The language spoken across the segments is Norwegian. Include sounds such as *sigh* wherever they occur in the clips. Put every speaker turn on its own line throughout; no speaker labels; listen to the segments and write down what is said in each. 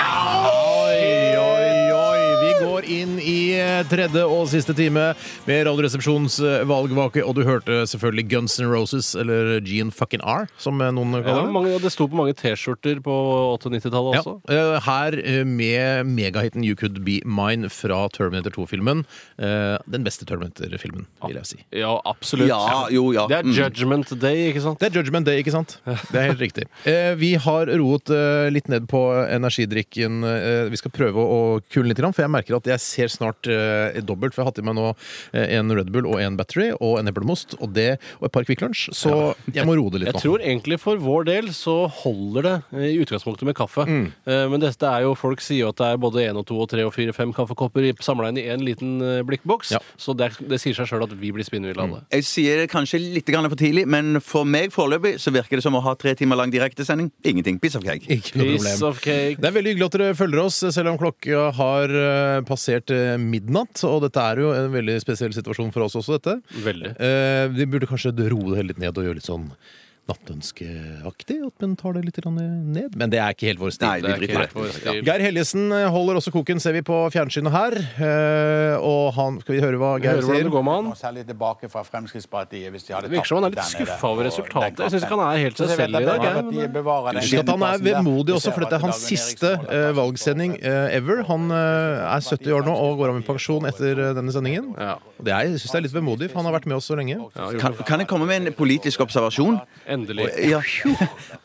Oi, oi, oi. Vi går inn i eh, tredje og siste time med Radioresepsjonens eh, valgvake. Og du hørte selvfølgelig Guns N' Roses, eller Gene fucking R, som eh, noen
Ja,
kaller det.
mange, det sto på mange T-skjorter på 80-90-tallet
Ja,
også.
eh, her eh, med megahiten You Could Be Mine fra Terminator 2-filmen. eh, Den beste Terminator-filmen, vil jeg si.
Ja, absolutt.
Ja, jo, ja.
Det er Judgment Day, ikke sant?
Det er Judgment Day, ikke sant? Det er helt riktig. Eh, vi har roet eh, litt ned på energidrikken. Eh, vi skal prøve å kule litt, grann, for jeg merker at jeg ser snart eh, dobbelt. For jeg har hatt i meg nå eh, en Red Bull og en Battery og en eplemost og, det, og et par Kvikk Lunsj. Så jeg må roe det litt
Jeg
nå.
tror egentlig for vår del så holder det eh, i utgangspunktet med kaffe. Eh, Men dette er jo, folk sier jo at det er både én og to og tre og fire fem kaffekopper samla inn i én liten eh, blikkboks.
Ja.
Så det, er- det sier seg sjøl at vi blir spinnville av det.
Jeg sier det kanskje litt grann for tidlig, men for meg foreløpig så virker det som å ha tre timer lang direktesending. Ingenting. Piss of cake.
Ikke noe
Piece
problem.
of cake.
Det er veldig hyggelig at dere følger oss, selv om klokka har eh, passert eh, midnatt. Og dette er jo en veldig spesiell situasjon for oss også, dette.
Veldig.
Eh, vi burde kanskje roe det hele litt ned og gjøre litt sånn nattønskeaktig. At man tar det litt grann ned. Men det er ikke helt vår stil.
Nei, vi
Det er
driter i
ikke
det.
vår stil.
Geir Helgesen holder også koken, ser vi på fjernsynet her. Eh, og han Skal vi høre hva Geir
Hører hvordan
sier?
det går med han.
Og særlig tilbake fra Fremskrittspartiet hvis de hadde
Sånn. Det virker som han er litt
tapt der nede
skuffa over
på
resultatet.
den
Jeg syns ikke han er helt seg
Så jeg vet
selv i
at
dag. jeg,
Arbeiderpartiet
men-
bevarer den
Husk at han er
sjedendeplassen der.
vemodig
Vi
også,
ser
for dette er
at
hans
Dagen
siste
Eriksen holder
eh,
plassen på-
valgsending eh, ever. Han eh, er 70 år nå og går av med pensjon etter eh, denne sendingen.
Ja.
Det er, jeg syns det er litt vemodig, for han har vært med oss så lenge.
Kan, kan jeg komme med en politisk observasjon?
Endelig.
Ja.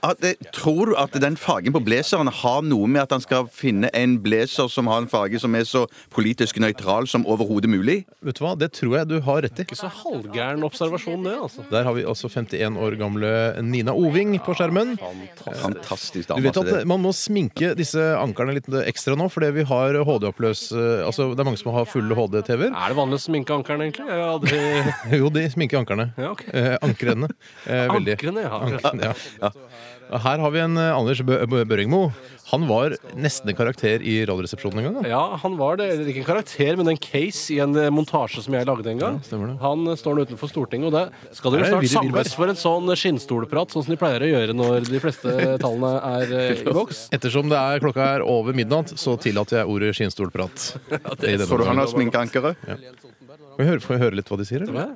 At, eh, tror du at den fargen på blazeren har noe med at han skal finne en blazer som har en farge som er så politisk nøytral som overhodet mulig?
Vet du hva, Det tror jeg du har rett i.
Så halvgæren observasjon, det, altså.
Der har vi altså 51 år gamle Nina Oving på skjermen.
Fantastisk
Du
dame.
vet
altså,
at eh,
det.
Man må sminke disse ankerne litt ekstra nå, fordi vi har HD-oppløs eh, Altså, Det er mange som har fulle HD-TV-er.
Er det vanlig å sminke ankeren, egentlig? Jeg har
*laughs*
aldri...
Jo, de sminker ankerne.
Ja, ok.
Eh, ankrene. Eh, veldig.
Ankeren, ja.
Ankeren, ja. Og Her har vi en eh, Anders Bø Bø Børingmo. Han var nesten en karakter i Radioresepsjonen en gang. da.
Ja, han var det. Eller ikke en karakter, men en case i en eh, montasje som jeg lagde en gang.
stemmer det.
han eh, står nå utenfor Stortinget, og det skal dere
Er det
snart
Willy Wilberg?
samles for en sånn skinnstolprat, sånn som de pleier å gjøre når de fleste
*laughs*
tallene er eh, i boks.
Ettersom det er klokka er over midnatt, så tillater jeg ordet skinnstolprat. I denne
Får du han
omgang.
har sminkeankeret?
Får vi høre- får vi høre litt hva de sier? Eller?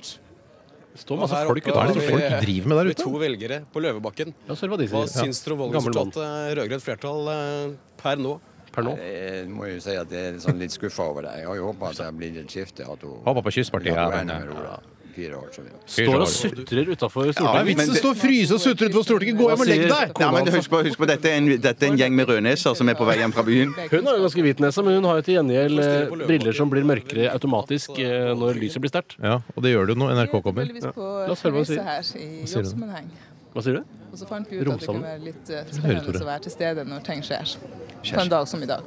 Det står masse
Her
folk
oppe
Hva er
utenfor.
det folk driver med der
Med to
ute?
velgere på Løvebakken.
Ja, så er det hva de
Hva
sier. Ja.
syns dere om
Gammel mann.
valgresultatet? Rød-grønt flertall eh, per nå.
Per nå.
Jeg Eh, må jo si at jeg er sånn litt skuffa over det. Jeg har jo håpa at det blir et skifte. At hun,
Håper på
at hun
kysspartiet, ja,
er
men, eh, ja.
nummer
eh,
Ola. Fire år, så vi-
Står og sutrer utafor
Det
Ja,
er
vi-
Stortinget.
vitsen å stå og fryse og sutre utenfor Stortinget. Gå hjem og legg deg!
Nei, men husk på, husk på dette, er en, dette er en gjeng med rødneser som er på vei hjem fra byen.
Hun har jo ganske hvit nese, men hun har jo til gjengjeld eh, briller som blir mørkere automatisk eh, når lyset blir sterkt.
Ja, og det gjør det jo når NRK kommer.
Tilfeldigvis på
La oss høre hva hun
reise her i
sier hun?
jobbsammenheng.
Hva sier du?
Og så fant vi ut at det
Romsammen.
kunne være litt eh,
Tore.
spennende å være til stede når ting skjer. På en dag som i dag.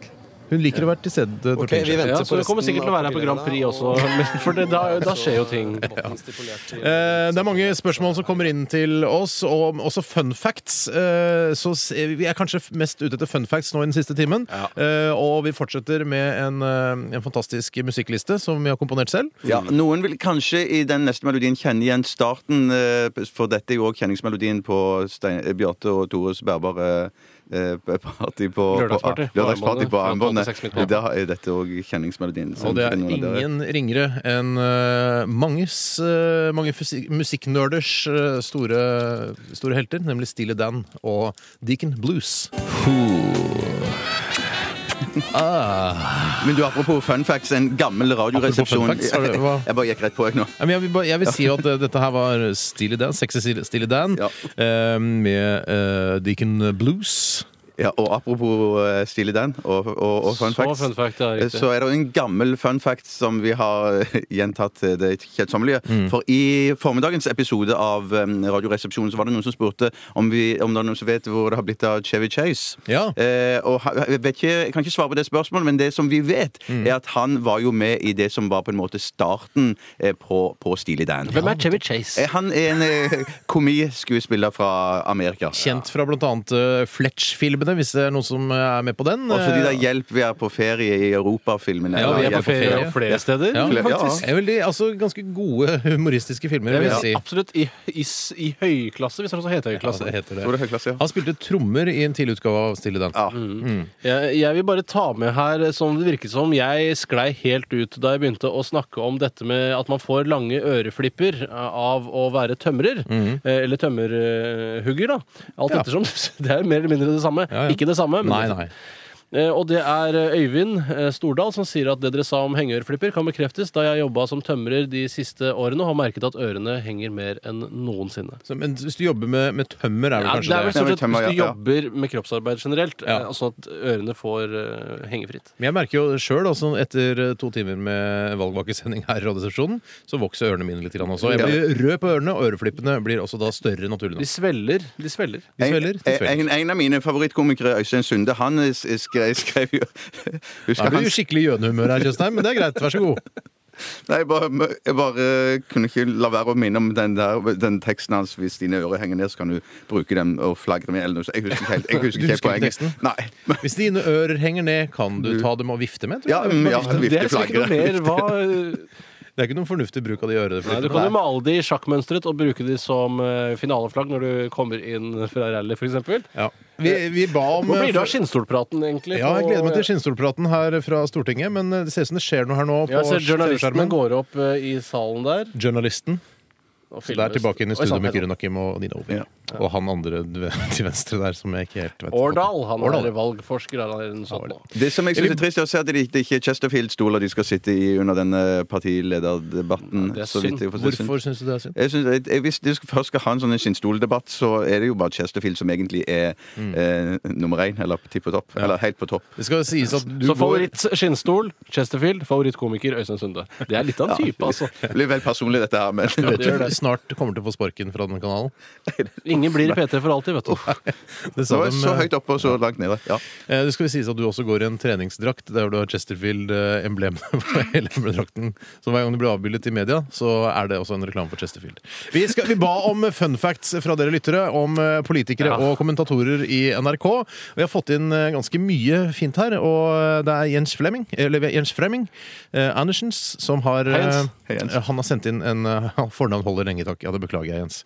Hun liker å være til stede. når
Ok,
ting
vi
skjer.
venter
Ja,
på
så det kommer
resten
sikkert til å være her
av
på Grand Prix også, *laughs* men- for det, da, da skjer jo ting.
*laughs* Debatten stipulert til-
Eh, Det er mange spørsmål som kommer inn til oss, og også fun facts. Eh, Så s- vi er kanskje mest ute etter fun facts nå i den siste timen. Eh, Og vi fortsetter med en, eh, en fantastisk musikkliste som vi har komponert selv.
Ja, Noen vil kanskje i den neste melodien kjenne igjen starten, eh, for dette er jo òg kjenningsmelodien på Stein, eh, Bjarte og Tores bærbare eh, party på
Lørdagsparty.
på- lørdagsparty på
Fra 12
Armbåndet.
til 6 midt på.
Da er dette òg kjenningsmelodien. Så
Og det er
noen av dere-
ingen ringere enn eh, manges, eh, mange fusi- musikknerders eh, store, store helter, nemlig Steely Dan og Deacon Blues.
Men du, apropos fun facts, en gammel radioresepsjon
Apropos fun facts, er det- hva?
*laughs* Jeg bare gikk rett på, jeg nå.
Ja, men Jeg vil, bare- jeg vil si at eh, dette her var Steely Dan, sexy Steely- Steely Dan,
Ja.
eh, med eh, Deacon Blues.
Ja, og apropos eh, Steely Dan og, og, og fun
Så
facts.
fun fact er riktig.
Så er det en gammel fun fact som vi har eh, gjentatt til det kjedsommelige.
Mm.
For i formiddagens episode av em, Radioresepsjonen så var det noen som spurte om, vi, om det er noen som vet hvor det har blitt av Chevy Chase.
Ja.
Eh, og ha- jeg, vet ikke, jeg kan ikke svare på det spørsmålet, men det som vi vet,
Mm.
er at han var jo med i det som var på en måte starten eh, på, på Steely Dan.
Hvem er Chevy Chase?
Eh, Han er en eh, komiskuespiller fra Amerika.
Kjent fra bl.a. eh, Fletch-filmene, podkastene, hvis det er noen som eh, er med på den. Eh,
Også Altså, de der 'Hjelp, vi er på ferie i Europa'-filmene.
eh, Ja, vi er
Eller
på
Hjelp
ferie
ferie.
og flere steder.
Ja,
Ja,
faktisk. Er veldig, altså, ganske gode humoristiske filmer,
Jeg
vil
vil
jeg
si
si.
absolutt i, i, s- i høyklasse, hvis det også heter
Ja,
høyklasse.
det heter
Så var det
det.
høyklasse, ja.
Han spilte trommer i en tidlig utgave av Stille dans.
Ja.
Jeg, jeg vil bare ta med her, som det virket som jeg sklei helt ut da jeg begynte å snakke om dette med at man får lange øreflipper av å være tømrer. eh, Eller tømmerhugger, da. Alt
Mhm. Ja.
ettersom. *laughs* Det er mer eller mindre det samme.
Ja, ja.
Ikke det samme. men
Nei,
det-
nei.
Eh, Og det er eh, Øyvind eh, Stordal som sier at det dere sa om hengeørflipper kan bekreftes, da jeg jobba som tømrer de siste årene og har merket at ørene henger mer enn noensinne.
Så, men hvis du jobber med, med tømmer, er vel
Ja, det
kanskje
er vel
det.
stort
Nei, men
sett
tømmer,
hvis du
ja, ja.
jobber med kroppsarbeid generelt,
Ja.
eh, sånn at ørene får eh, hengefritt.
Men jeg merker jo sjøl, altså, etter eh, to timer med valgvakesending her i Radiostasjonen, så vokser ørene mine litt grann også. Jeg blir rød på ørene, og øreflippene blir også da større, naturlig nok.
De sveller. De sveller.
De svelger. De
En,
svelger.
en, en av mine favorittkomikere, Øystein Sunde, han eh, s- skrev, *laughs* skrev jo Husker
Da blir
han
du i skikkelig jødehumør her, Tjøstheim, men det er greit. Vær så god.
Nei, jeg bare, jeg bare kunne ikke la være å minne om den, der, den teksten hans. Hvis dine ører henger ned, så kan du bruke dem og flagre med. Eller noe. sånt. Jeg husker ikke helt, jeg husker
Du
ikke helt
husker ikke
poenget.
teksten?
Nei. men-
Hvis dine ører henger ned, kan du
Mm.
ta dem og vifte med?
Ja,
Tror jeg.
mm, ja
Det
vifte
er liksom ikke noe
flagre.
mer hva
Det er ikke noen fornuftig bruk av de
Nei, Du
øreflippene.
kan jo male de sjakkmønstret og bruke de som eh, finaleflagg når du kommer inn fra rally, f.eks. Hvor
Ja. Vi, vi ba om
blir det av skinnstolpraten, egentlig?
Ja, jeg
på-
gleder meg til skinnstolpraten her fra Stortinget, men eh, det ser ut som det skjer noe her nå på
Jeg ser journalistene
skjermen.
går opp eh, i salen der.
Journalisten.
Og
Så det er tilbake inn i
Oi,
studio
sant,
med
jeg
Kyrre Nakim og Nina Ovi.
Ja.
Og han andre du vet, *laughs* til venstre der, som jeg ikke helt vet.
sant. Årdal, han
Årdal,
er valgforsker. Han er en sånn nå.
Det som jeg synes er trist, er å se at det ikke det ikke er Chesterfield-stoler de skal sitte i under denne partilederdebatten.
Det er
så vidt
synd.
jeg forstår.
Hvorfor syns du det er synd?
Jeg synes, jeg, jeg, hvis du skal- først skal ha en sånn skinnstoldebatt, så er det jo bare Chesterfield som egentlig er eh, nummer én, eller tipp på topp. Eller helt på topp.
Det skal sies at du
Så
går
favoritt skinnstol Chesterfield, favorittkomiker Øystein Sunde. Det er litt av en type, *laughs* altså.
Det blir vel personlig, dette her, men
Du vet du snart kommer til å få sparken fra den kanalen.
Ingen blir PT for alltid, vet du.
Det
det
sa
var
de,
*laughs* så
eh,
høyt oppe og så langt nede. Ja.
Eh, Det skal sies at du også går i en treningsdrakt der du har Chesterfield-emblemet *laughs* på hele emblemdrakten. Så hver gang du blir avbildet i media, så er det også en reklame for Chesterfield. Vi, skal, vi ba om fun facts fra dere lyttere om eh, politikere
Ja.
og kommentatorer i NRK. Og Vi har fått inn eh, ganske mye fint her, og eh, det er Jens Flemming, eller Jens Fremming eh, Andersens, som har
Hei, Jens.
eh,
Hei, Jens.
eh, Han har sendt inn en eh, *laughs* Fornavn holder lenge, takk. Ja, det beklager jeg, Jens.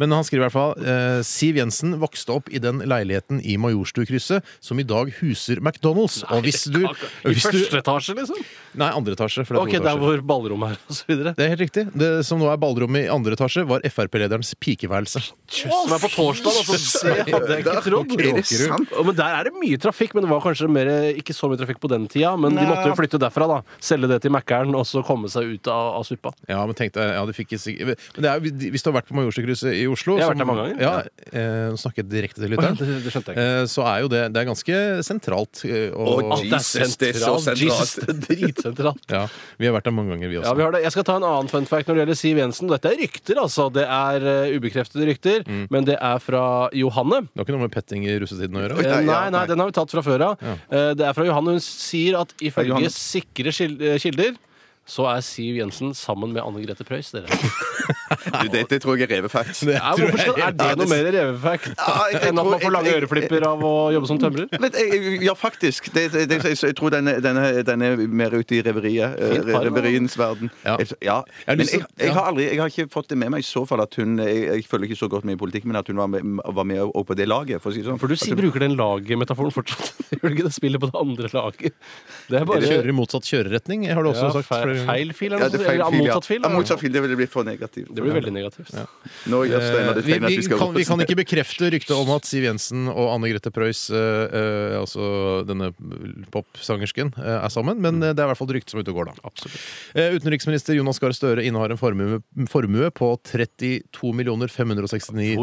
Men han skriver i hvert fall eh, Siv Jensen vokste opp i den leiligheten i Majorstukrysset som i dag huser McDonald's. og hvis du,
I
hvis du
første etasje, liksom?
Nei, andre etasje. For det er
Ok,
to
der
etasjer.
hvor ballrommet er, og så videre.
Det er helt riktig. Det som nå er ballrommet i andre etasje, var Frp-lederens pikeværelse.
Som er på torsdag, altså. Det hadde jeg ikke trodd.
Er det sant?
Å, Men der er det mye trafikk, men det var kanskje mer, ikke så mye trafikk på den tida. Men de måtte jo flytte derfra, da. Selge det til Mækkern, og så komme seg ut av, av suppa.
Ja, men tenk deg, ja, det fikk jeg sikk- Men det er, jo- hvis du har vært på Majorstukrysset i Oslo
Jeg har
som-
vært der mange ganger.
Ja, eh, nå snakker jeg direkte til lytteren.
Å ja, det- det skjønte jeg
eh, så er jo det Det er ganske sentralt. eh, og-
Å,
Alt er
Jesus, det er så
sentralt. Jesus,
sentralt.
det er Dritsentralt.
ja, vi har vært der mange ganger, vi også.
Ja, vi har det. Jeg skal ta en annen fun fact når det gjelder Siv Jensen. Dette er rykter, altså. Det er eh, ubekreftede rykter,
Mm.
men det er fra Johanne.
Det har ikke noe med petting i russetiden å gjøre?
Oi.
Eh,
Nei,
Nei, nei,
ja, nei.
den har vi tatt fra før av. Eh, Det er fra Johanne. Hun sier at
Ja, Johanne.
ifølge sikre skil- eh, kilder så er Siv Jensen sammen med Anne Grete Preus,
*laughs*
dere.
Du, Dette tror jeg er *laughs* revefakt.
*laughs* Det
Ja,
tror
hvorfor skal,
jeg-
er det noe mer revefact
Ja, jeg- jeg
enn at
tror-
man får lange
jeg- jeg-
øreflipper av å jobbe som tømrer?
Vet, jeg, jeg- eh, ja, faktisk. Det, det, det, jeg, jeg tror den er, den, er, den er mer ute i reveriet. eh,
Fint par, da.
Reveriens verden.
Ja.
Jeg- Ja.
har
Men
lyst
jeg,
til-
jeg,
ja.
har aldri, jeg har ikke fått det med meg i så fall at hun Jeg, jeg følger ikke så godt med i politikk, men at hun var med, var med og på det laget, for å si det sånn.
For du
At
sier,
hun-
bruker den laget-metaforen fortsatt. *laughs* Gjør du ikke det? Spiller på det andre laget. Det er bare
Kjører i motsatt kjøreretning, har du også
ja,
sagt.
feil,
flere ganger.
feil fil,
ja,
eller
det
noe
er
sånt?
feil
Eller
fil, ja.
motsatt fil?
Ja,
da.
motsatt fil, det ville blitt for negativt.
Det blir veldig negativt.
Nå gjør Steinar det
Eh, Vi,
tegnet at
vi,
vi skal
kan,
gå
vi kan ikke bekrefte ryktet om at Siv Jensen og Anne Grete Preus, eh, eh, altså denne popsangersken, eh, er sammen. Men eh, det er i hvert fall et rykte som er ute og går, da. Eh, utenriksminister Jonas Gahr Støre innehar en formue, formue på 32 569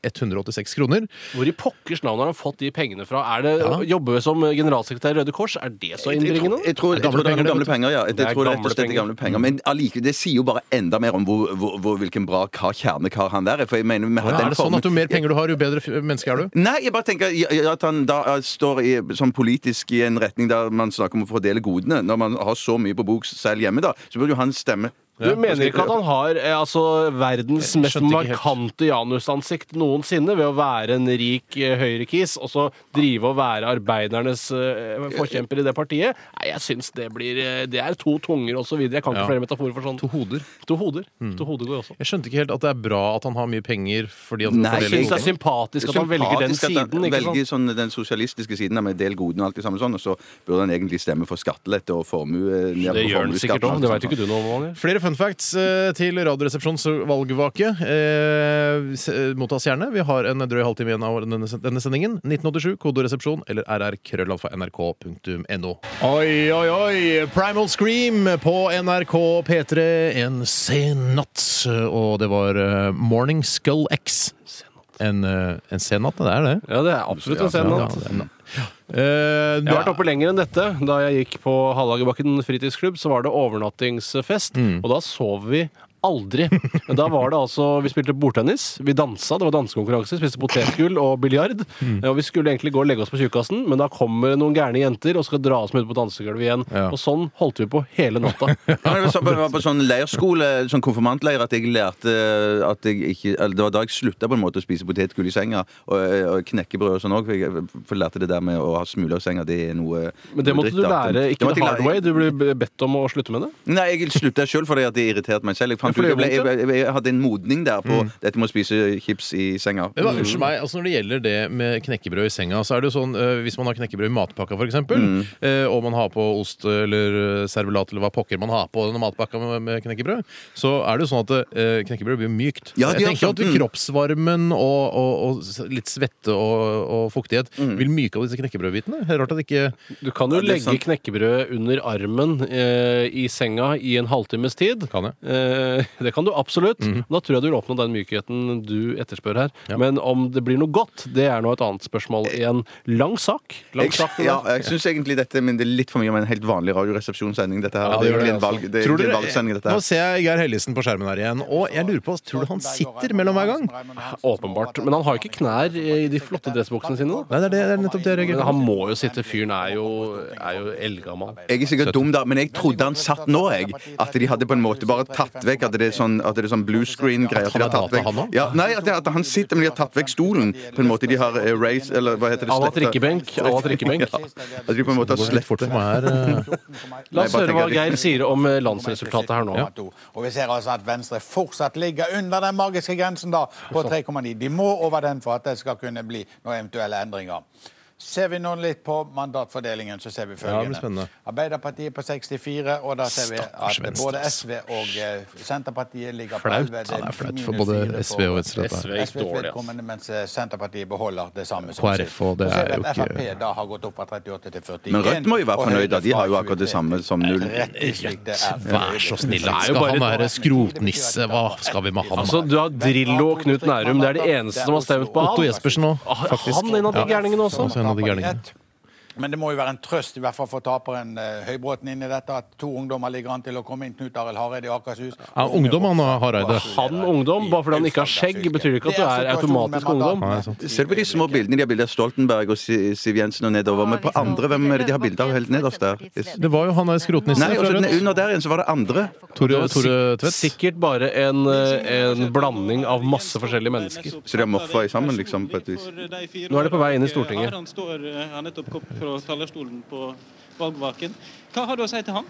186 kroner.
Hvor i pokkers navn har han fått de pengene fra? Er det
Ja.
å Jobbe som generalsekretær i Røde Kors? Er det så
Jeg tror,
innbringende?
jeg tror,
Det
jeg
er
tror det er
gamle
gamle penger, ja.
Det er
Jeg tror rett
gamle
og slett det er gamle penger. Men allikevel, det sier jo bare enda mer om hvor, hvor, hvor, hvilken bra kar, kjernekar han der er. For jeg mener, vi har
Er
den
det sånn
formen-
at jo mer penger du har, jo bedre f- menneske er du?
Nei, jeg bare tenker i- i- at han da eh, står i, sånn politisk i en retning der man snakker om å fordele godene. Når man har så mye på bok selv hjemme, da, så burde jo han stemme
Du mener ikke at han har eh, altså, verdens
Jeg
mest
skjønte ikke helt.
markante janusansikt noensinne ved å være en rik eh, høyrekis og så drive og være arbeidernes eh, forkjemper i det partiet? Nei, jeg syns det blir eh, Det er to tunger og så videre. Jeg kan ikke
Ja.
flere metaforer for sånn. To hoder. Mm. To hoder, går også.
Jeg skjønte ikke helt at det er bra at han har mye penger. Fordi at
Nei,
fordeler
Jeg syns det
godene.
er sympatisk at han velger den
Sympatisk at han
siden. ikke sant?
velger sånn den sosialistiske siden med del godene og alt det samme sånn, og så burde han egentlig stemme for skattelette og formue. ned
Det
på
gjør han
formuesskatten
sikkert
og
òg.
alt
Det
sånt
veit ikke du noe om. Magnus.
Flere fun facts eh, til Radioresepsjons valgvake. Eh, s- eh, mottas gjerne. Vi har en drøy halvtime igjen av denne, denne sendingen. 1987, kodoresepsjon eller rrkrøllalfa.nrk.no. Oi, oi, oi! Primal Scream på NRK P3 en sen natt. Og det var eh, Morning Skull X. En, eh, en sen natt, det er det.
Ja, det er absolutt en scene.
Ja, det er en natt. Eh,
Jeg har vært
det-
oppe lenger enn dette. Da jeg gikk på Hallagerbakken fritidsklubb, så var det overnattingsfest,
Mm.
og da sov vi aldri. Da var det altså Vi spilte bordtennis, vi dansa, det var dansekonkurranse, spiste potetgull og biljard.
Mm.
Eh, Og vi skulle egentlig gå og legge oss på tjukkasen, men da kommer noen gærne jenter og skal dra oss med ut på dansegulvet igjen.
Ja.
Og sånn holdt vi på hele natta.
Ja, det var sånn- jeg var på sånn leirskole, sånn konfirmantleir, at jeg lærte eh, at jeg ikke eller Det var da jeg slutta på en måte å spise potetgull i senga, og, og knekkebrød og sånn òg. For jeg for jeg lærte det der med å ha smuler i senga, det er noe
Men det måtte du
dritt, da.
lære,
Det
ikke
måtte
the
jeg
hard
lære-
way. Du ble bedt om å slutte med det.
Nei, jeg slutta sjøl fordi at det irriterte meg selv. Jeg,
Ja,
fant
Mm. for det
ut, jeg, ble,
gjør
jeg, jeg, jeg hadde en modning der på dette med å spise chips i senga.
Men hva, unnskyld meg, altså Når det gjelder det med knekkebrød i senga, så er det jo sånn eh, hvis man har knekkebrød i matpakka f.eks., eksempel
Mm.
eh, og man har på ost eller eh, servelat eller hva pokker man har på denne matpakka med, med knekkebrød, så er det jo sånn at eh, knekkebrød blir mykt.
Ja, det
Jeg tenker
gjør
jo at
sånn, mm.
kroppsvarmen og, og, og s- litt svette og, og fuktighet
Mm.
vil myke av disse knekkebrødbitene. Det er Rart at ikke
Du kan jo
Ja, det er
legge
sant.
knekkebrød under armen eh, i senga i en halvtimes tid.
Kan jeg?
Eh, det kan du absolutt.
Mhm.
Da tror jeg du vil oppnå den mykheten du etterspør her. Men om det blir noe godt, det er nå et annet spørsmål.
Eh,
I en lang sak. Lang
Jeg,
sak det der.
ja, jeg syns egentlig dette men det er litt for mye om en helt vanlig radioresepsjonssending. Dette her.
Ja,
det
det
er
gjør
egentlig
det, altså.
en valg, det
Tror
er egentlig en
dere-
valgsending,
Nå
dette her.
ser jeg Geir Helgesen på skjermen her igjen, og jeg lurer på Tror du han sitter mellom hver gang?
Åpenbart. Men han har ikke knær i de flotte dressbuksene sine. da.
Nei, det er, det, det er nettopp det jeg
Men
reagerer på.
han må jo sitte. Fyren er jo, er jo eldgammel.
Jeg er sikkert dum, da, men jeg trodde han satt nå, jeg. At de hadde på en måte bare tatt vekk At det er sånn, at det er sånn blue screen-greier. at de
Han
har tatt
hater
vekk-
han nå?
Ja, nei, at, det, at han sitter, men de har tatt vekk stolen. På en måte de har eh, race, eller hva heter det?
À la
slettet-
trikkebenk. à la trikkebenk.
*laughs* Ja, at de på en måte har
Det går litt fort
slettet
for meg her. eh.
*laughs*
La oss
Nei, jeg
høre
bare
hva
tenker at-
Geir sier om eh, landsresultatet her nå.
Og vi ser altså at Venstre fortsatt ligger under den magiske grensen da, på
Sånn.
3,9. De må over den for at det skal kunne bli noen eventuelle endringer. Ser vi nå litt på mandatfordelingen, så ser
Ja, det
vi
blir
følgende.
spennende.
Arbeiderpartiet på 64, og da ser vi
Stakkars
at
Venstre,
både
ass.
SV og eh, Senterpartiet ligger på
Flaut. Ja,
11.
det er flaut for
minus
både
fire
SV og
for-
Venstre. dette her.
SV gikk
SVs
dårlig, ass.
vedkommende, mens eh, Senterpartiet beholder det samme. som
KrF,
sitt.
og det
Så
er
ser vi at
jo ikke-
Frp da har gått opp fra 38 til 41.
Men Rødt må jo være
og
fornøyd,
Høyre
da. De har jo
fra
akkurat det
23.
samme som null.
Rett og slett, det er for
Vær
øyeblikk.
så snill,
Det
da.
er jo
Skal
bare-
han være skrotnisse? Hva skal vi med han?
Altså, Du har Drillo og Knut Nærum. Det er det eneste som har stemt på han.
Otto Jespersen nå,
Ah,
faktisk.
Han er en av de gærningene også.
Altså, en av de gærningene.
Men det må jo være en trøst, i hvert fall for taperen eh, Høybråten inn i dette, at to ungdommer ligger an til å komme inn. Knut Arild Hareide i Akershus.
Ja, ungdom, han og Hareide.
Han ungdom, bare fordi han ikke har skjegg, betyr ikke at du er
altså
automatisk ungdom.
Ser du på de små bildene de har bilde av Stoltenberg og Si- Siv Jensen og nedover? Men på andre, hvem er det de har bilde av helt nederst der?
Det var jo han der skrotnissen
Nei, og
fra
så den-
Rødt.
under der igjen så var det andre.
Tore, Tore Tvedt.
Sikkert bare en, eh, en blanding av masse forskjellige mennesker.
Så de har moffa i sammen, liksom, på et vis.
Nå er det på vei inn i Stortinget.
Han står eh, han nettopp kom fra talerstolen på valgvaken. Hva har du å si til ham?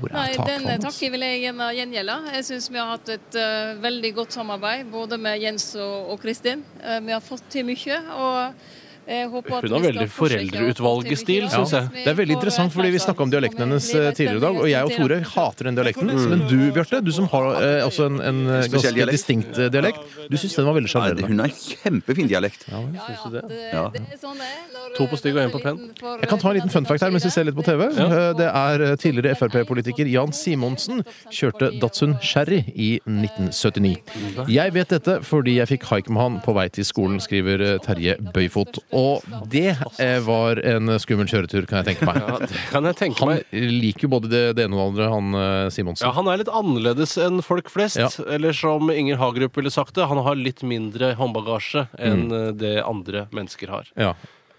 Hvor
Nei,
er
Den eh,
taket hans?
takken vil jeg gjerne gjengjelde. Jeg syns vi har hatt et eh, veldig godt samarbeid både med Jens og, og Kristin. Eh, vi har fått til mye. og jeg håper at
Hun har
vi skal
veldig
fortsette å få til
foreldreutvalgsstil,
mye.
synes jeg.
Vi
Det er veldig
får
interessant, fordi vi
velferdsstat
snakka om dialekten
som
hennes
vi
eh,
vet
tidligere i dag, og jeg og Tore hater den dialekten. Men du, Bjarte, du som har eh, altså en, en eh,
Mm. Spesiell
ganske
dialekt.
distinkt eh, dialekt, du syns den var veldig
Ja, det-
sjarmerende.
Hun har en kjempefin dialekt.
Ja, ja, det, det er sånn det er. når,
To på stygg og en på
eh,
penn.
for, eh,
Jeg kan ta en liten fun fact her mens vi ser litt på TV.
Ja.
Eh, Det er eh, tidligere Frp-politiker Jan Simonsen kjørte Datsun Sherry i 1979. Jeg vet dette fordi jeg fikk haik med han på vei til skolen, skriver eh, Terje Bøyfot. Og det eh, var en skummel kjøretur, kan jeg tenke
Ja,
meg.
det kan jeg tenke
Han
meg.
liker jo både det, det ene og det andre, han eh,
Ja,
Simonsen.
Han er litt annerledes enn folk flest.
Ja.
Eller som Inger Hagerup
Mm.
ville sagt det, han har litt mindre håndbagasje enn eh, det andre mennesker har.
Ja.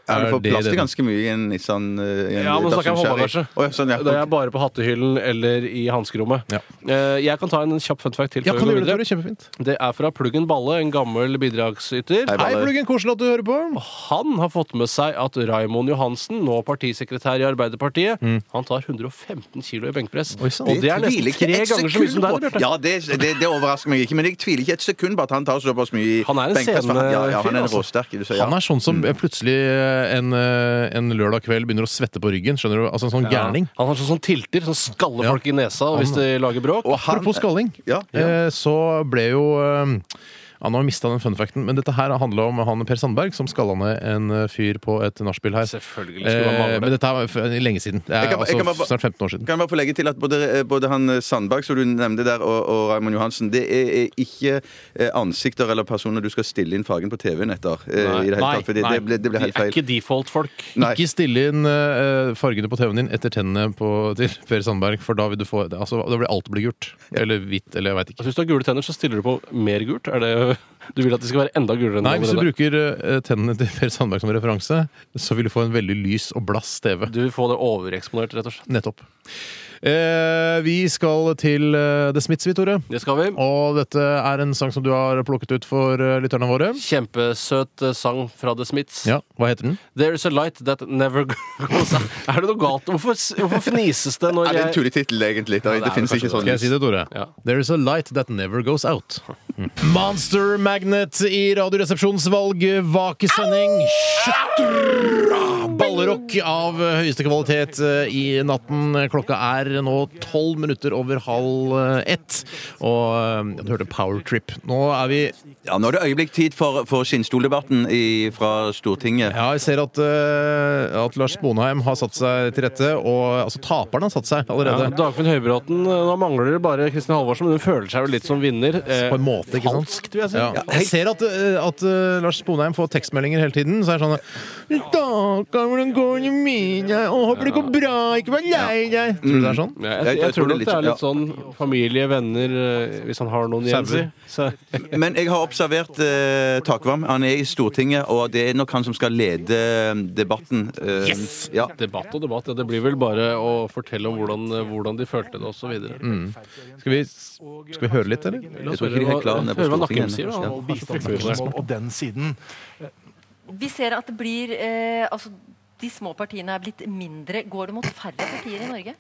Ja, du
Er
får
det
plass til
det-
ganske mye i en Nissan. eh, i en
Ja, men da snakker jeg om
Datsun
håndbagasje.
Cherry. Å, ja, sånn, ja.
Det er bare på hattehyllen eller i hanskerommet.
Ja.
Eh, Jeg kan ta en kjapp fun fact til.
Ja,
før
kan
vi
du
går
gjøre det,
videre.
Tore? Kjempefint.
det er fra Pluggen Balle, en gammel bidragsyter.
Hei,
Hei,
Baller.
Pluggen, koselig at du hører på.
Han har fått med seg at Raimond Johansen, nå partisekretær i Arbeiderpartiet, han tar 115 kilo i benkpress.
Mm. Oi, sant.
Og det er nesten
tviler ikke
tre
et
ganger så mye som
sekund
deg, Bjarte.
på. Ja, det, det, det overrasker meg ikke, men jeg tviler ikke et sekund på at han tar såpass mye i
Han er en
benkpress, for han- ja, ja, han
scenefyr,
er en
altså.
råsterk. Du sier, ja.
Han er sånn som plutselig en, eh, en lørdag kveld begynner å svette på ryggen. Skjønner du? Altså en sånn gærning.
Han har sånn, sånn tilter, sånn skaller
Ja.
folk i nesa hvis de lager bråk.
Og han-
Apropos skalling,
Ja.
eh, så ble jo eh, ja, Nå har jeg mista den fun facten, men dette her handla om han Per Sandberg som skalla ned en eh, fyr på et nachspiel her.
Selvfølgelig skulle man
Eh, men
mangle det.
dette her var for lenge siden. Det er
Jeg kan ba- jeg kan
altså
ba-
snart 15 år siden.
Kan jeg bare få legge til at både, eh, både han Sandberg, som du nevnte der, og, og Raymond Johansen, det er, er ikke eh, ansikter eller personer du skal stille inn fargen på TV-en etter. eh, i det hele tatt, for det, det, ble, det ble helt
de er
feil.
ikke default-folk.
Nei.
Ikke stille inn eh, fargene på TV-en din etter tennene på, til Per Sandberg, for da vil du få altså, Da blir alt blir gult. Eller hvitt, eller jeg veit ikke.
Altså, hvis du har gule tenner, så stiller du på mer gult. Er det, du vil at de skal være enda gulere enn
Nei,
de
hvis du
allerede er.
bruker eh, tennene til Per Sandberg som referanse, så vil du få en veldig lys og blass TV.
Du vil få det overeksponert, rett og slett.
Nettopp. Eh, vi skal til eh, The Smiths, vi, Tore.
Det skal vi.
Og dette er en sang som du har plukket ut for eh, lytterne våre.
Kjempesøt eh, sang fra The Smiths.
Ja, Hva heter den?
There's a light that never *laughs* goes out. Er det noe galt? Hvorfor, hvorfor fnises det når
Er det en
jeg
tulletittel, egentlig? Da,
Ja, det er
det finnes
vel kanskje
ikke sånn.
Skal jeg si det, Tore?
Ja.
There is a light that never goes out. Mm. Monster Magnet i Radioresepsjonens valgvakesending. Shutter! Ballrock av høyeste kvalitet eh, i natten. Klokka er nå tolv minutter over halv eh, ett. Og eh, ja, du hørte Power Trip. Nå er vi
Ja, nå er det øyeblikk tid for, for skinnstoldebatten i- fra Stortinget.
Ja, jeg ser at, eh, at Lars Bonheim har satt seg til rette. Og altså, taperen har satt seg
ja,
allerede.
Dagfinn Høybråten, eh, nå mangler det bare Kristin Halvorsen, men hun føler seg vel litt som vinner. Eh,
På en måte, ikke sant?
Falskt, vil jeg si.
Ja. Jeg ser at, eh, at eh, Lars Sponheim får tekstmeldinger hele tiden. Så er det sånn «I dag, hvordan går det med deg? Å, håper det går bra. Ikke vær lei deg. Tror du det er sånn?
Ja, jeg, jeg, tror nok det er
ja.
litt sånn familie, venner, eh, hvis han har noen igjen. Si.
Sauer.
Så-
Men jeg har observert eh, Takvam. Han er i Stortinget, og det er nok han som skal lede debatten. Eh, Ja.
Debatt og debatt. Ja, det blir vel bare å fortelle om hvordan, hvordan de følte det, osv. Mm.
Skal vi, skal vi høre litt, eller?
Jeg tror ikke de er helt klare nede på
hva
Stortinget
Nakkim sier,
ennå.
da.
Ja.
og kanskje trykke på det.
og den siden.
Vi ser at det blir eh, altså, De små partiene er blitt mindre. Går det mot færre partier i Norge?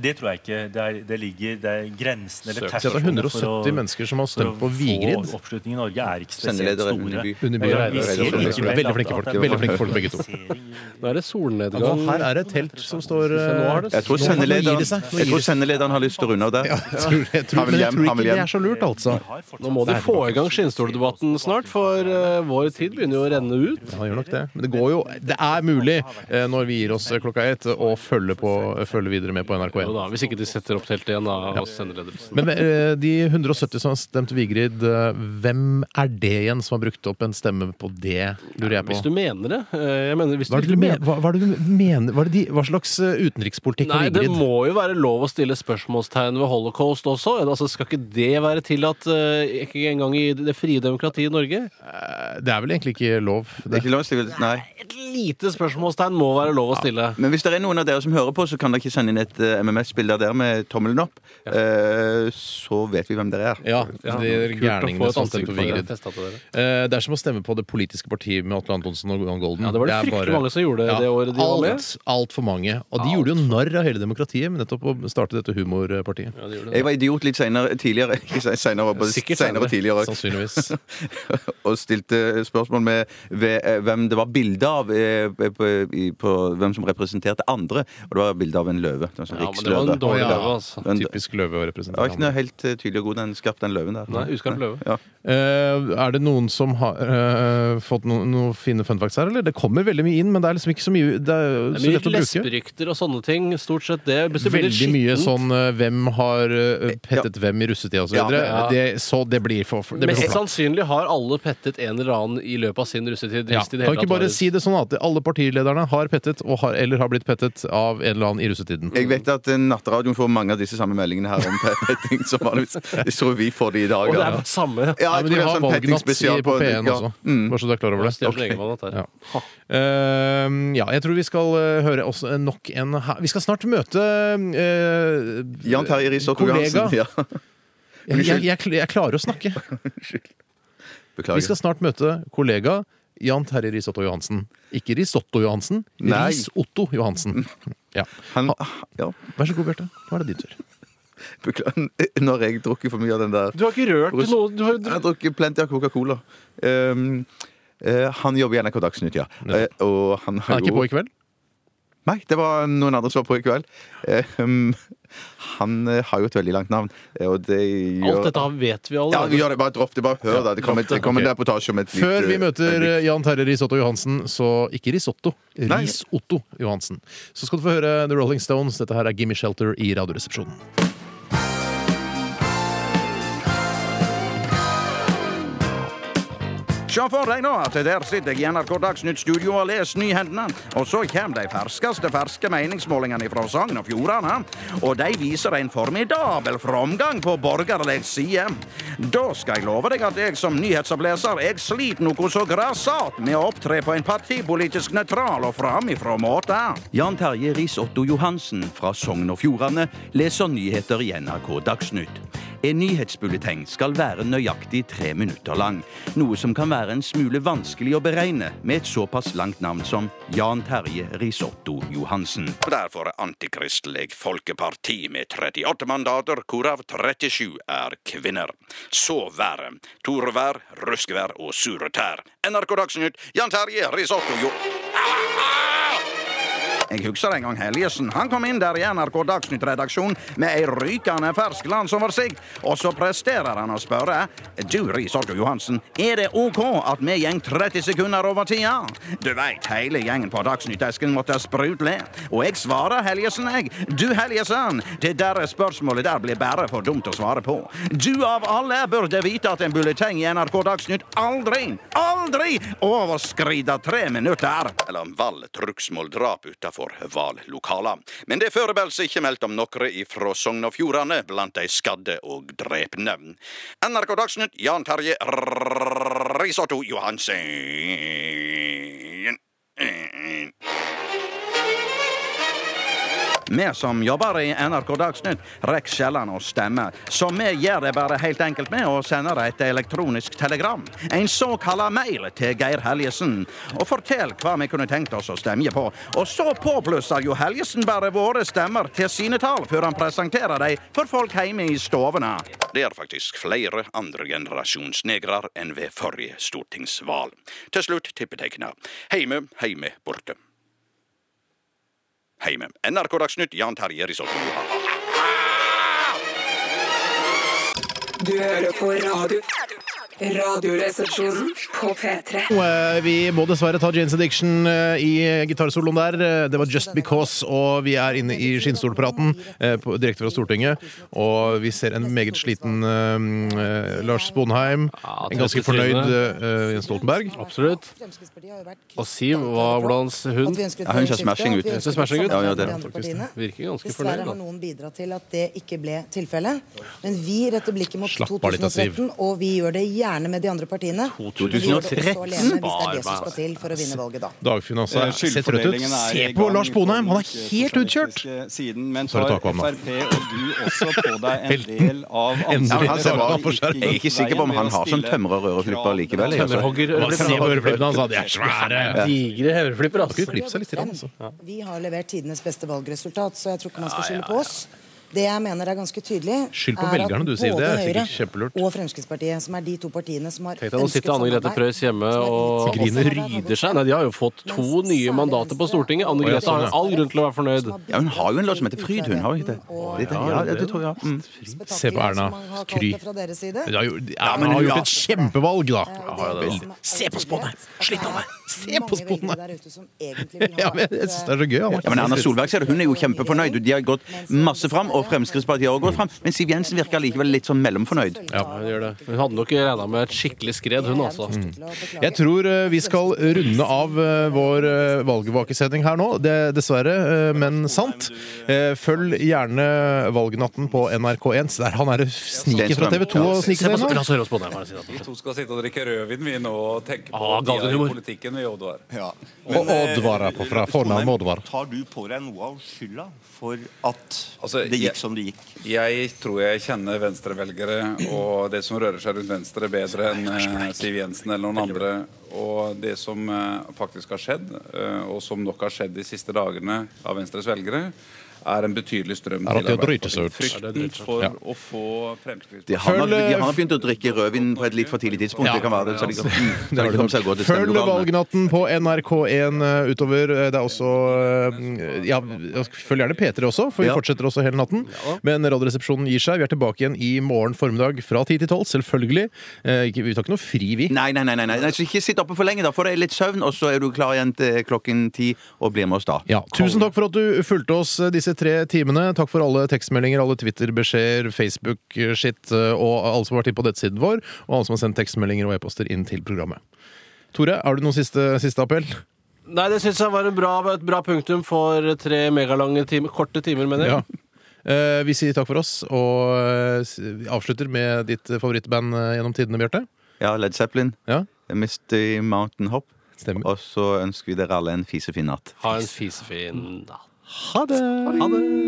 Det tror jeg ikke. Det, er, det ligger det er grensen eller
Søk.
Se at det er
terskelen for å-
170 mennesker som har
for å
stemt på
få
Vigrid.
Oppslutningen i Norge er ikke spesielt
Sendeledere
store.
Underby.
Underby.
Ja, vi ser
Veldig
likevel at-
flinke folk.
at det er
Veldig flinke folk, begge to.
polarisering i-
Nå er det solnedgang.
Og Altså, her er det et telt som står eh,
Nå har det-
Jeg tror
Nå- nå gir
sendelederen,
det seg. Nå gir
jeg tror
det seg.
sendelederen har lyst til å runde av der.
Ja, jeg tror, jeg tror,
Han vil
men jeg
hjem,
tror
han
ikke det
vil
er
hjem.
så lurt, altså.
Vi har fortsatt-
Nå må de få i gang skinnstoldebatten snart, for eh, vår tid begynner jo å renne ut.
Ja, han gjør nok det. Men det går jo Det er mulig, eh, når vi gir oss eh, klokka ett, å følge, på, følge videre med på
Jo
NRK1.
da, Hvis ikke de setter opp teltet igjen, da. Og sender ledelsen.
Men eh, de 170 som har stemt Vigrid, eh, hvem er det igjen som har brukt opp en stemme på det, lurer jeg på?
Hvis du mener det. eh, Jeg mener, hvis
Hva er det du mener?
mener
Hva, hva er det du mener? Hva, er det de, hva slags eh, utenrikspolitikk har
Nei, det
Vigrid?
må jo være lov å stille spørsmålstegn ved holocaust også. Altså, skal ikke det være tillatt eh, ikke engang i det frie demokratiet i Norge?
Eh, Det er vel egentlig ikke lov?
Det er
Det.
ikke lov å stille- Nei.
Et lite spørsmålstegn må være lov å stille.
Men hvis det er noen av dere som hører på, så kan dere ikke sende inn et eh, MMS-bilde av dere med tommelen opp. Eh, så vet vi hvem dere er.
Ja,
Altså,
de er
kult å få
gærningene
et
som stemte
ansikt
på
for det.
Vigrid.
Testa til dere.
Eh, Det er som å stemme på det politiske partiet med Atle Antonsen og Jan Golden.
Ja, det var det
er
fryktelig mange som gjorde det året de var med.
alt, alt for mange. Og de gjorde jo narr av hele demokratiet med nettopp å starte dette humorpartiet.
Ja, det gjorde det.
Jeg var idiot litt senere, tidligere, *laughs* ikke se- senere, bare
Sikkert
senere og tidligere, *laughs*
Sannsynligvis.
*laughs*
og stilte spørsmål med ved, eh, hvem det var bilde av eh, på, i, på hvem som representerte andre. Og det var bilde av en løve. En sånn
Ja, men det
riksløve.
var en dårlig
Ja.
løve, altså.
Den-
Typisk løve å
Det var
representere.
ikke noe helt eh, tydelig og god, den skarp, den løven der.
Nei, uskarp løve.
Ja.
Eh, er det noen som har eh, fått noen noen fine fun facts her, eller? Det kommer veldig mye inn, men det er liksom ikke så mye Det er,
Det
så lett
er
å bruke.
mye lesberykter og sånne ting. Stort sett det. Hvis det blir litt
Veldig mye
skittent,
sånn eh, 'hvem har eh, pettet hvem i russetida' osv.
Ja,
ja.
Det, så det blir for, for, det blir sånn-
Mest
for flatt.
sannsynlig har alle pettet en eller annen i løpet av sin russetid.
Ja.
hvis de i det
Kan
hele
ikke
tatt
bare
har-
si det sånn at alle partilederne har pettet og har, eller har blitt pettet av en eller annen i russetiden.
Jeg
Jeg vet at eh, Nattradioen får mange av disse samme meldingene her om *laughs* pe- petting. som vanligvis. Jeg tror vi får de i dag.
Og det
ja.
er bare samme.
Ja,
Nei,
jeg
men
tror
de
det er
har
sånn
valgnatt i-
petting-spesial
på
på-
P1
ja.
også.
Mm.
Bare så du er klar over det.
Stjerne Egenvalg, dette her.
Ja. Ehm, ja, jeg tror vi skal eh, høre også nok en her. Vi skal snart møte eh,
Jan Terje Risotto
kollega.
Johansen. *laughs* Ja.
Jeg, jeg, jeg, kl- jeg klarer å snakke. Vi skal
Beklager.
snart møte kollega Jan Terje Risotto Johansen. Ikke Risotto Johansen,
Nei. Mm.
Ris-Otto Johansen. Ja.
Han, ja,
Vær så god, Bjarte. Nå er det din tur.
beklager. Nå har jeg drukket for mye av den der.
Du har ikke rørt
Brus-
noe du har,
Jeg har drukket plenty av Coca-Cola. Ehm, eh, han jobber i NRK Dagsnytt, ja. Eh, og han
Han
har
er ikke
jo
på i kveld?
Nei, det var noen andre som var på i kveld. Ehm, han eh, har jo et veldig langt navn, eh, og det gjør
Alt dette her vet vi alle.
Ja, vi gjør det. Bare dropp det. Bare hør, da. Det kommer, det kommer en
Ok.
reportasje om et nytt,
Før vi
eh,
møter
øyeblikk.
Jan Terje Risotto Johansen, så ikke Risotto, Ris-Otto Johansen, så skal du få høre The Rolling Stones. Dette her er Gimme Shelter i Radioresepsjonen.
Se for deg nå at der sitter jeg i NRK Dagsnytt studio og leser nyhendene. Og så kommer de ferskeste ferske meningsmålingene fra Sogn og Fjordane. Og de viser en formidabel framgang på borgerlig side. Da skal jeg love deg at jeg som nyhetsoppleser jeg sliter noe så grassat med å opptre på en partipolitisk nøytral og framifrå måte.
Jan Terje Riis-Otto Johansen fra Sogn og Fjordane leser nyheter i NRK Dagsnytt. En nyhetsbulleteng skal være nøyaktig tre minutter lang, noe som kan være en smule vanskelig å beregne med et såpass langt navn som Jan Terje Riis-Otto Johansen.
Derfor er Antikristelig Folkeparti med 38 mandater, hvorav 37 er kvinner. Så været. Torvær, ruskevær og sure tær. NRK Dagsnytt, Jan Terje Risotto Jo... Ah,
Jeg
husker en gang Helgesen. Han kom inn der i NRK Dagsnytt-redaksjonen med ei rykende fersk landsoversikt, og så presterer han å spørre Du, Risotto Johansen, er det OK at vi gjeng 30 sekunder over tida? Du veit, hele gjengen på Dagsnytt-esken måtte sprutle. Og jeg svarer Helgesen, jeg. Du, Helgesen, det der spørsmålet der blir bare for dumt å svare på. Du av alle burde vite at en bulleteng i NRK Dagsnytt aldri, aldri overskrider tre minutter.
Mellom Vall trugsmål drap utafor Val
lokala. Men det er foreløpig ikke meldt om noen ifra Sogn og Fjordane blant de skadde og drepne. NRK Dagsnytt, Jan Terje Risotto Johansen. Vi som jobber i NRK Dagsnytt, rekker sjelden å stemme, så vi gjør det bare helt enkelt med å sende et elektronisk telegram, en såkalla mail, til Geir Helgesen, og fortell hva vi kunne tenkt oss å stemme på. Og så påplusser jo Helgesen bare våre stemmer til sine tall før han presenterer dem for folk hjemme i stovene.
Det er faktisk flere andre generasjonsnegrer enn ved forrige stortingsvalg.
Til slutt tippetegna. Heime, heime, borte. Heime. NRK Dagsnytt, Jan Terje Risotto Johan.
Du hører på radio. Radioresepsjonen på P3.
Og, eh, Vi må dessverre ta Janes Addiction eh, i gitarsoloen der. Eh, Det var Just Because, og vi er inne i skinnstolpraten eh, på- direkte fra Stortinget. Og vi ser en meget sliten eh, eh, Lars Sponheim. En ganske fornøyd eh, Jens Stoltenberg.
Absolutt. Og Siv, hva, hvordan s- hun
Ja, hun ser smashing ut.
Hun ser smashing ut?
Ja, ja, det er det.
Faktisk, det Virker ganske
Dessverre
fornøyd.
har
da.
noen bidratt til at det ikke ble tilfellet. Men vi retter blikket mot
Slapp av litt, da, Siv.
2013, og vi gjør det gjerne med de andre partiene. Men vi gjør det også
2013?
alene Hvis det er det som skal til for å vinne valget, da.
Dagfinn altså, er- ser trøtt
Eh,
ut.
Skyldfordelingen er i
Se på
gang
Lars Bonheim! Han er
på
helt utkjørt!
Siden, men
Så er
tar Frp
det taco ham, da.
og du også på deg en
Helten.
del av
*laughs* Endelig.
ansvaret.
Han ser bra på skjerm.
Ikke
Jeg er ikke sikker på om
veien
han
ved å
har sånn
stille
tømrer- og øreflipper
krav.
likevel, jeg, altså. Tømmerhogger,
Bare se på øreflippene hans, da. De
Ja.
er svære!
Digre øreflipper. altså.
Skulle klippe seg litt i den, altså.
Vi har levert tidenes beste valgresultat, så jeg tror ikke man skal skylde på oss. Det jeg mener er ganske tydelig,
Skyld på
er at
velgerne, du, Siv. Det
både
er sikkert
Høyre
kjempelurt.
Og Fremskrittspartiet, som er de to partiene som har
Tenk deg, Nå
ønsket
sitter Anne Grete
samarbeid.
Preus hjemme og
Griner.
ryder seg. Nei, De har jo fått to nye mandater på Stortinget.
Å,
Anne
ja,
Grete har
sånn, ja.
all grunn til å være fornøyd.
Ja, hun har jo en låt som heter Fryd, hun har jo ikke det? Det- det- Ja, det tror jeg. Mm.
Se på Erna Skry.
Fra deres side. Eh,
Hun har jo-
Ja, men
Erna har
hun
gjort
har-
et kjempevalg, da.
ja, det er
Veldig. Se på Sponheim! Slitt av meg! Se på
mange velgere der ute som egentlig vil
Ja,
ha eh,
men jeg synes det er så gøy. han.
Ja, men Erna Solberg ser du, hun er jo kjempefornøyd. De har gått masse fram, og Fremskrittspartiet har også gått fram. Men Siv Jensen virker likevel litt sånn mellomfornøyd.
Ja, hun gjør det. Hun hadde nok regna med et skikkelig skred, hun altså.
Mm. Jeg tror eh, vi skal runde av eh, vår eh, valgvakesending her nå. Det, dessverre, eh, men sant. Eh, Følg gjerne Valgnatten på NRK1. Så Der han er og sniker fra TV 2 og sniker seg inn. nå.
Vi to skal sitte og drikke rødvin vi nå og tenke på
Ah,
tida i
galgenhumor.
politikken vi Oddvar.
Og
eh,
Oddvar er på fra fornavn med Oddvar.
eh, Tar du på deg noe av skylda for at det
Altså, jeg-
gikk som det gikk?
Jeg tror jeg kjenner venstrevelgere og det som rører seg rundt Venstre, bedre enn eh, Siv Jensen eller noen andre. Og det som eh, faktisk har skjedd, eh, og som nok har skjedd de siste dagene av Venstres velgere, er en betydelig strøm
Er at de har driti seg ut.
Frykten for
Ja.
å få Fremskrittspartiet
De har, nok,
Følg, eh,
de har nok begynt å drikke rødvin på et litt for tidlig tidspunkt.
Ja.
det kan være det, så de Mm. kan, så de kan komme seg godt til
Følg
stemmelokalene.
Valgnatten på NRK1 eh, utover. Eh, Det er også eh, Ja, følg gjerne P3 også, for vi
Ja.
fortsetter også hele natten. Men Radioresepsjonen gir seg. Vi er tilbake igjen i morgen formiddag fra 10 til 12, selvfølgelig. Eh, ikke- Vi tar ikke noe fri, vi.
Nei, nei, nei, nei, nei. nei, så ikke sitt oppe for lenge, da. Få deg litt søvn, og så er du klar igjen til klokken ti og blir med oss da.
Tusen takk for at du fulgte oss eh, disse tre timene. Takk for alle tekstmeldinger, alle Twitter-beskjeder, Facebook-shit, eh, og alle som har vært inne på nettsiden vår, og alle som har sendt tekstmeldinger og e-poster inn til programmet. Tore, har du noen siste, siste appell?
Nei, det syns jeg var en bra, et bra punktum for tre megalange timer, korte timer, mener jeg.
Ja. Eh, vi sier takk for oss, og eh, s- vi avslutter med ditt favorittband eh, gjennom tidene, Bjarte.
Ja, Led Zeppelin. Misty Mountain Hop. Og så ønsker vi dere alle en fisefin natt.
Ha en fisefin natt.
Ha det!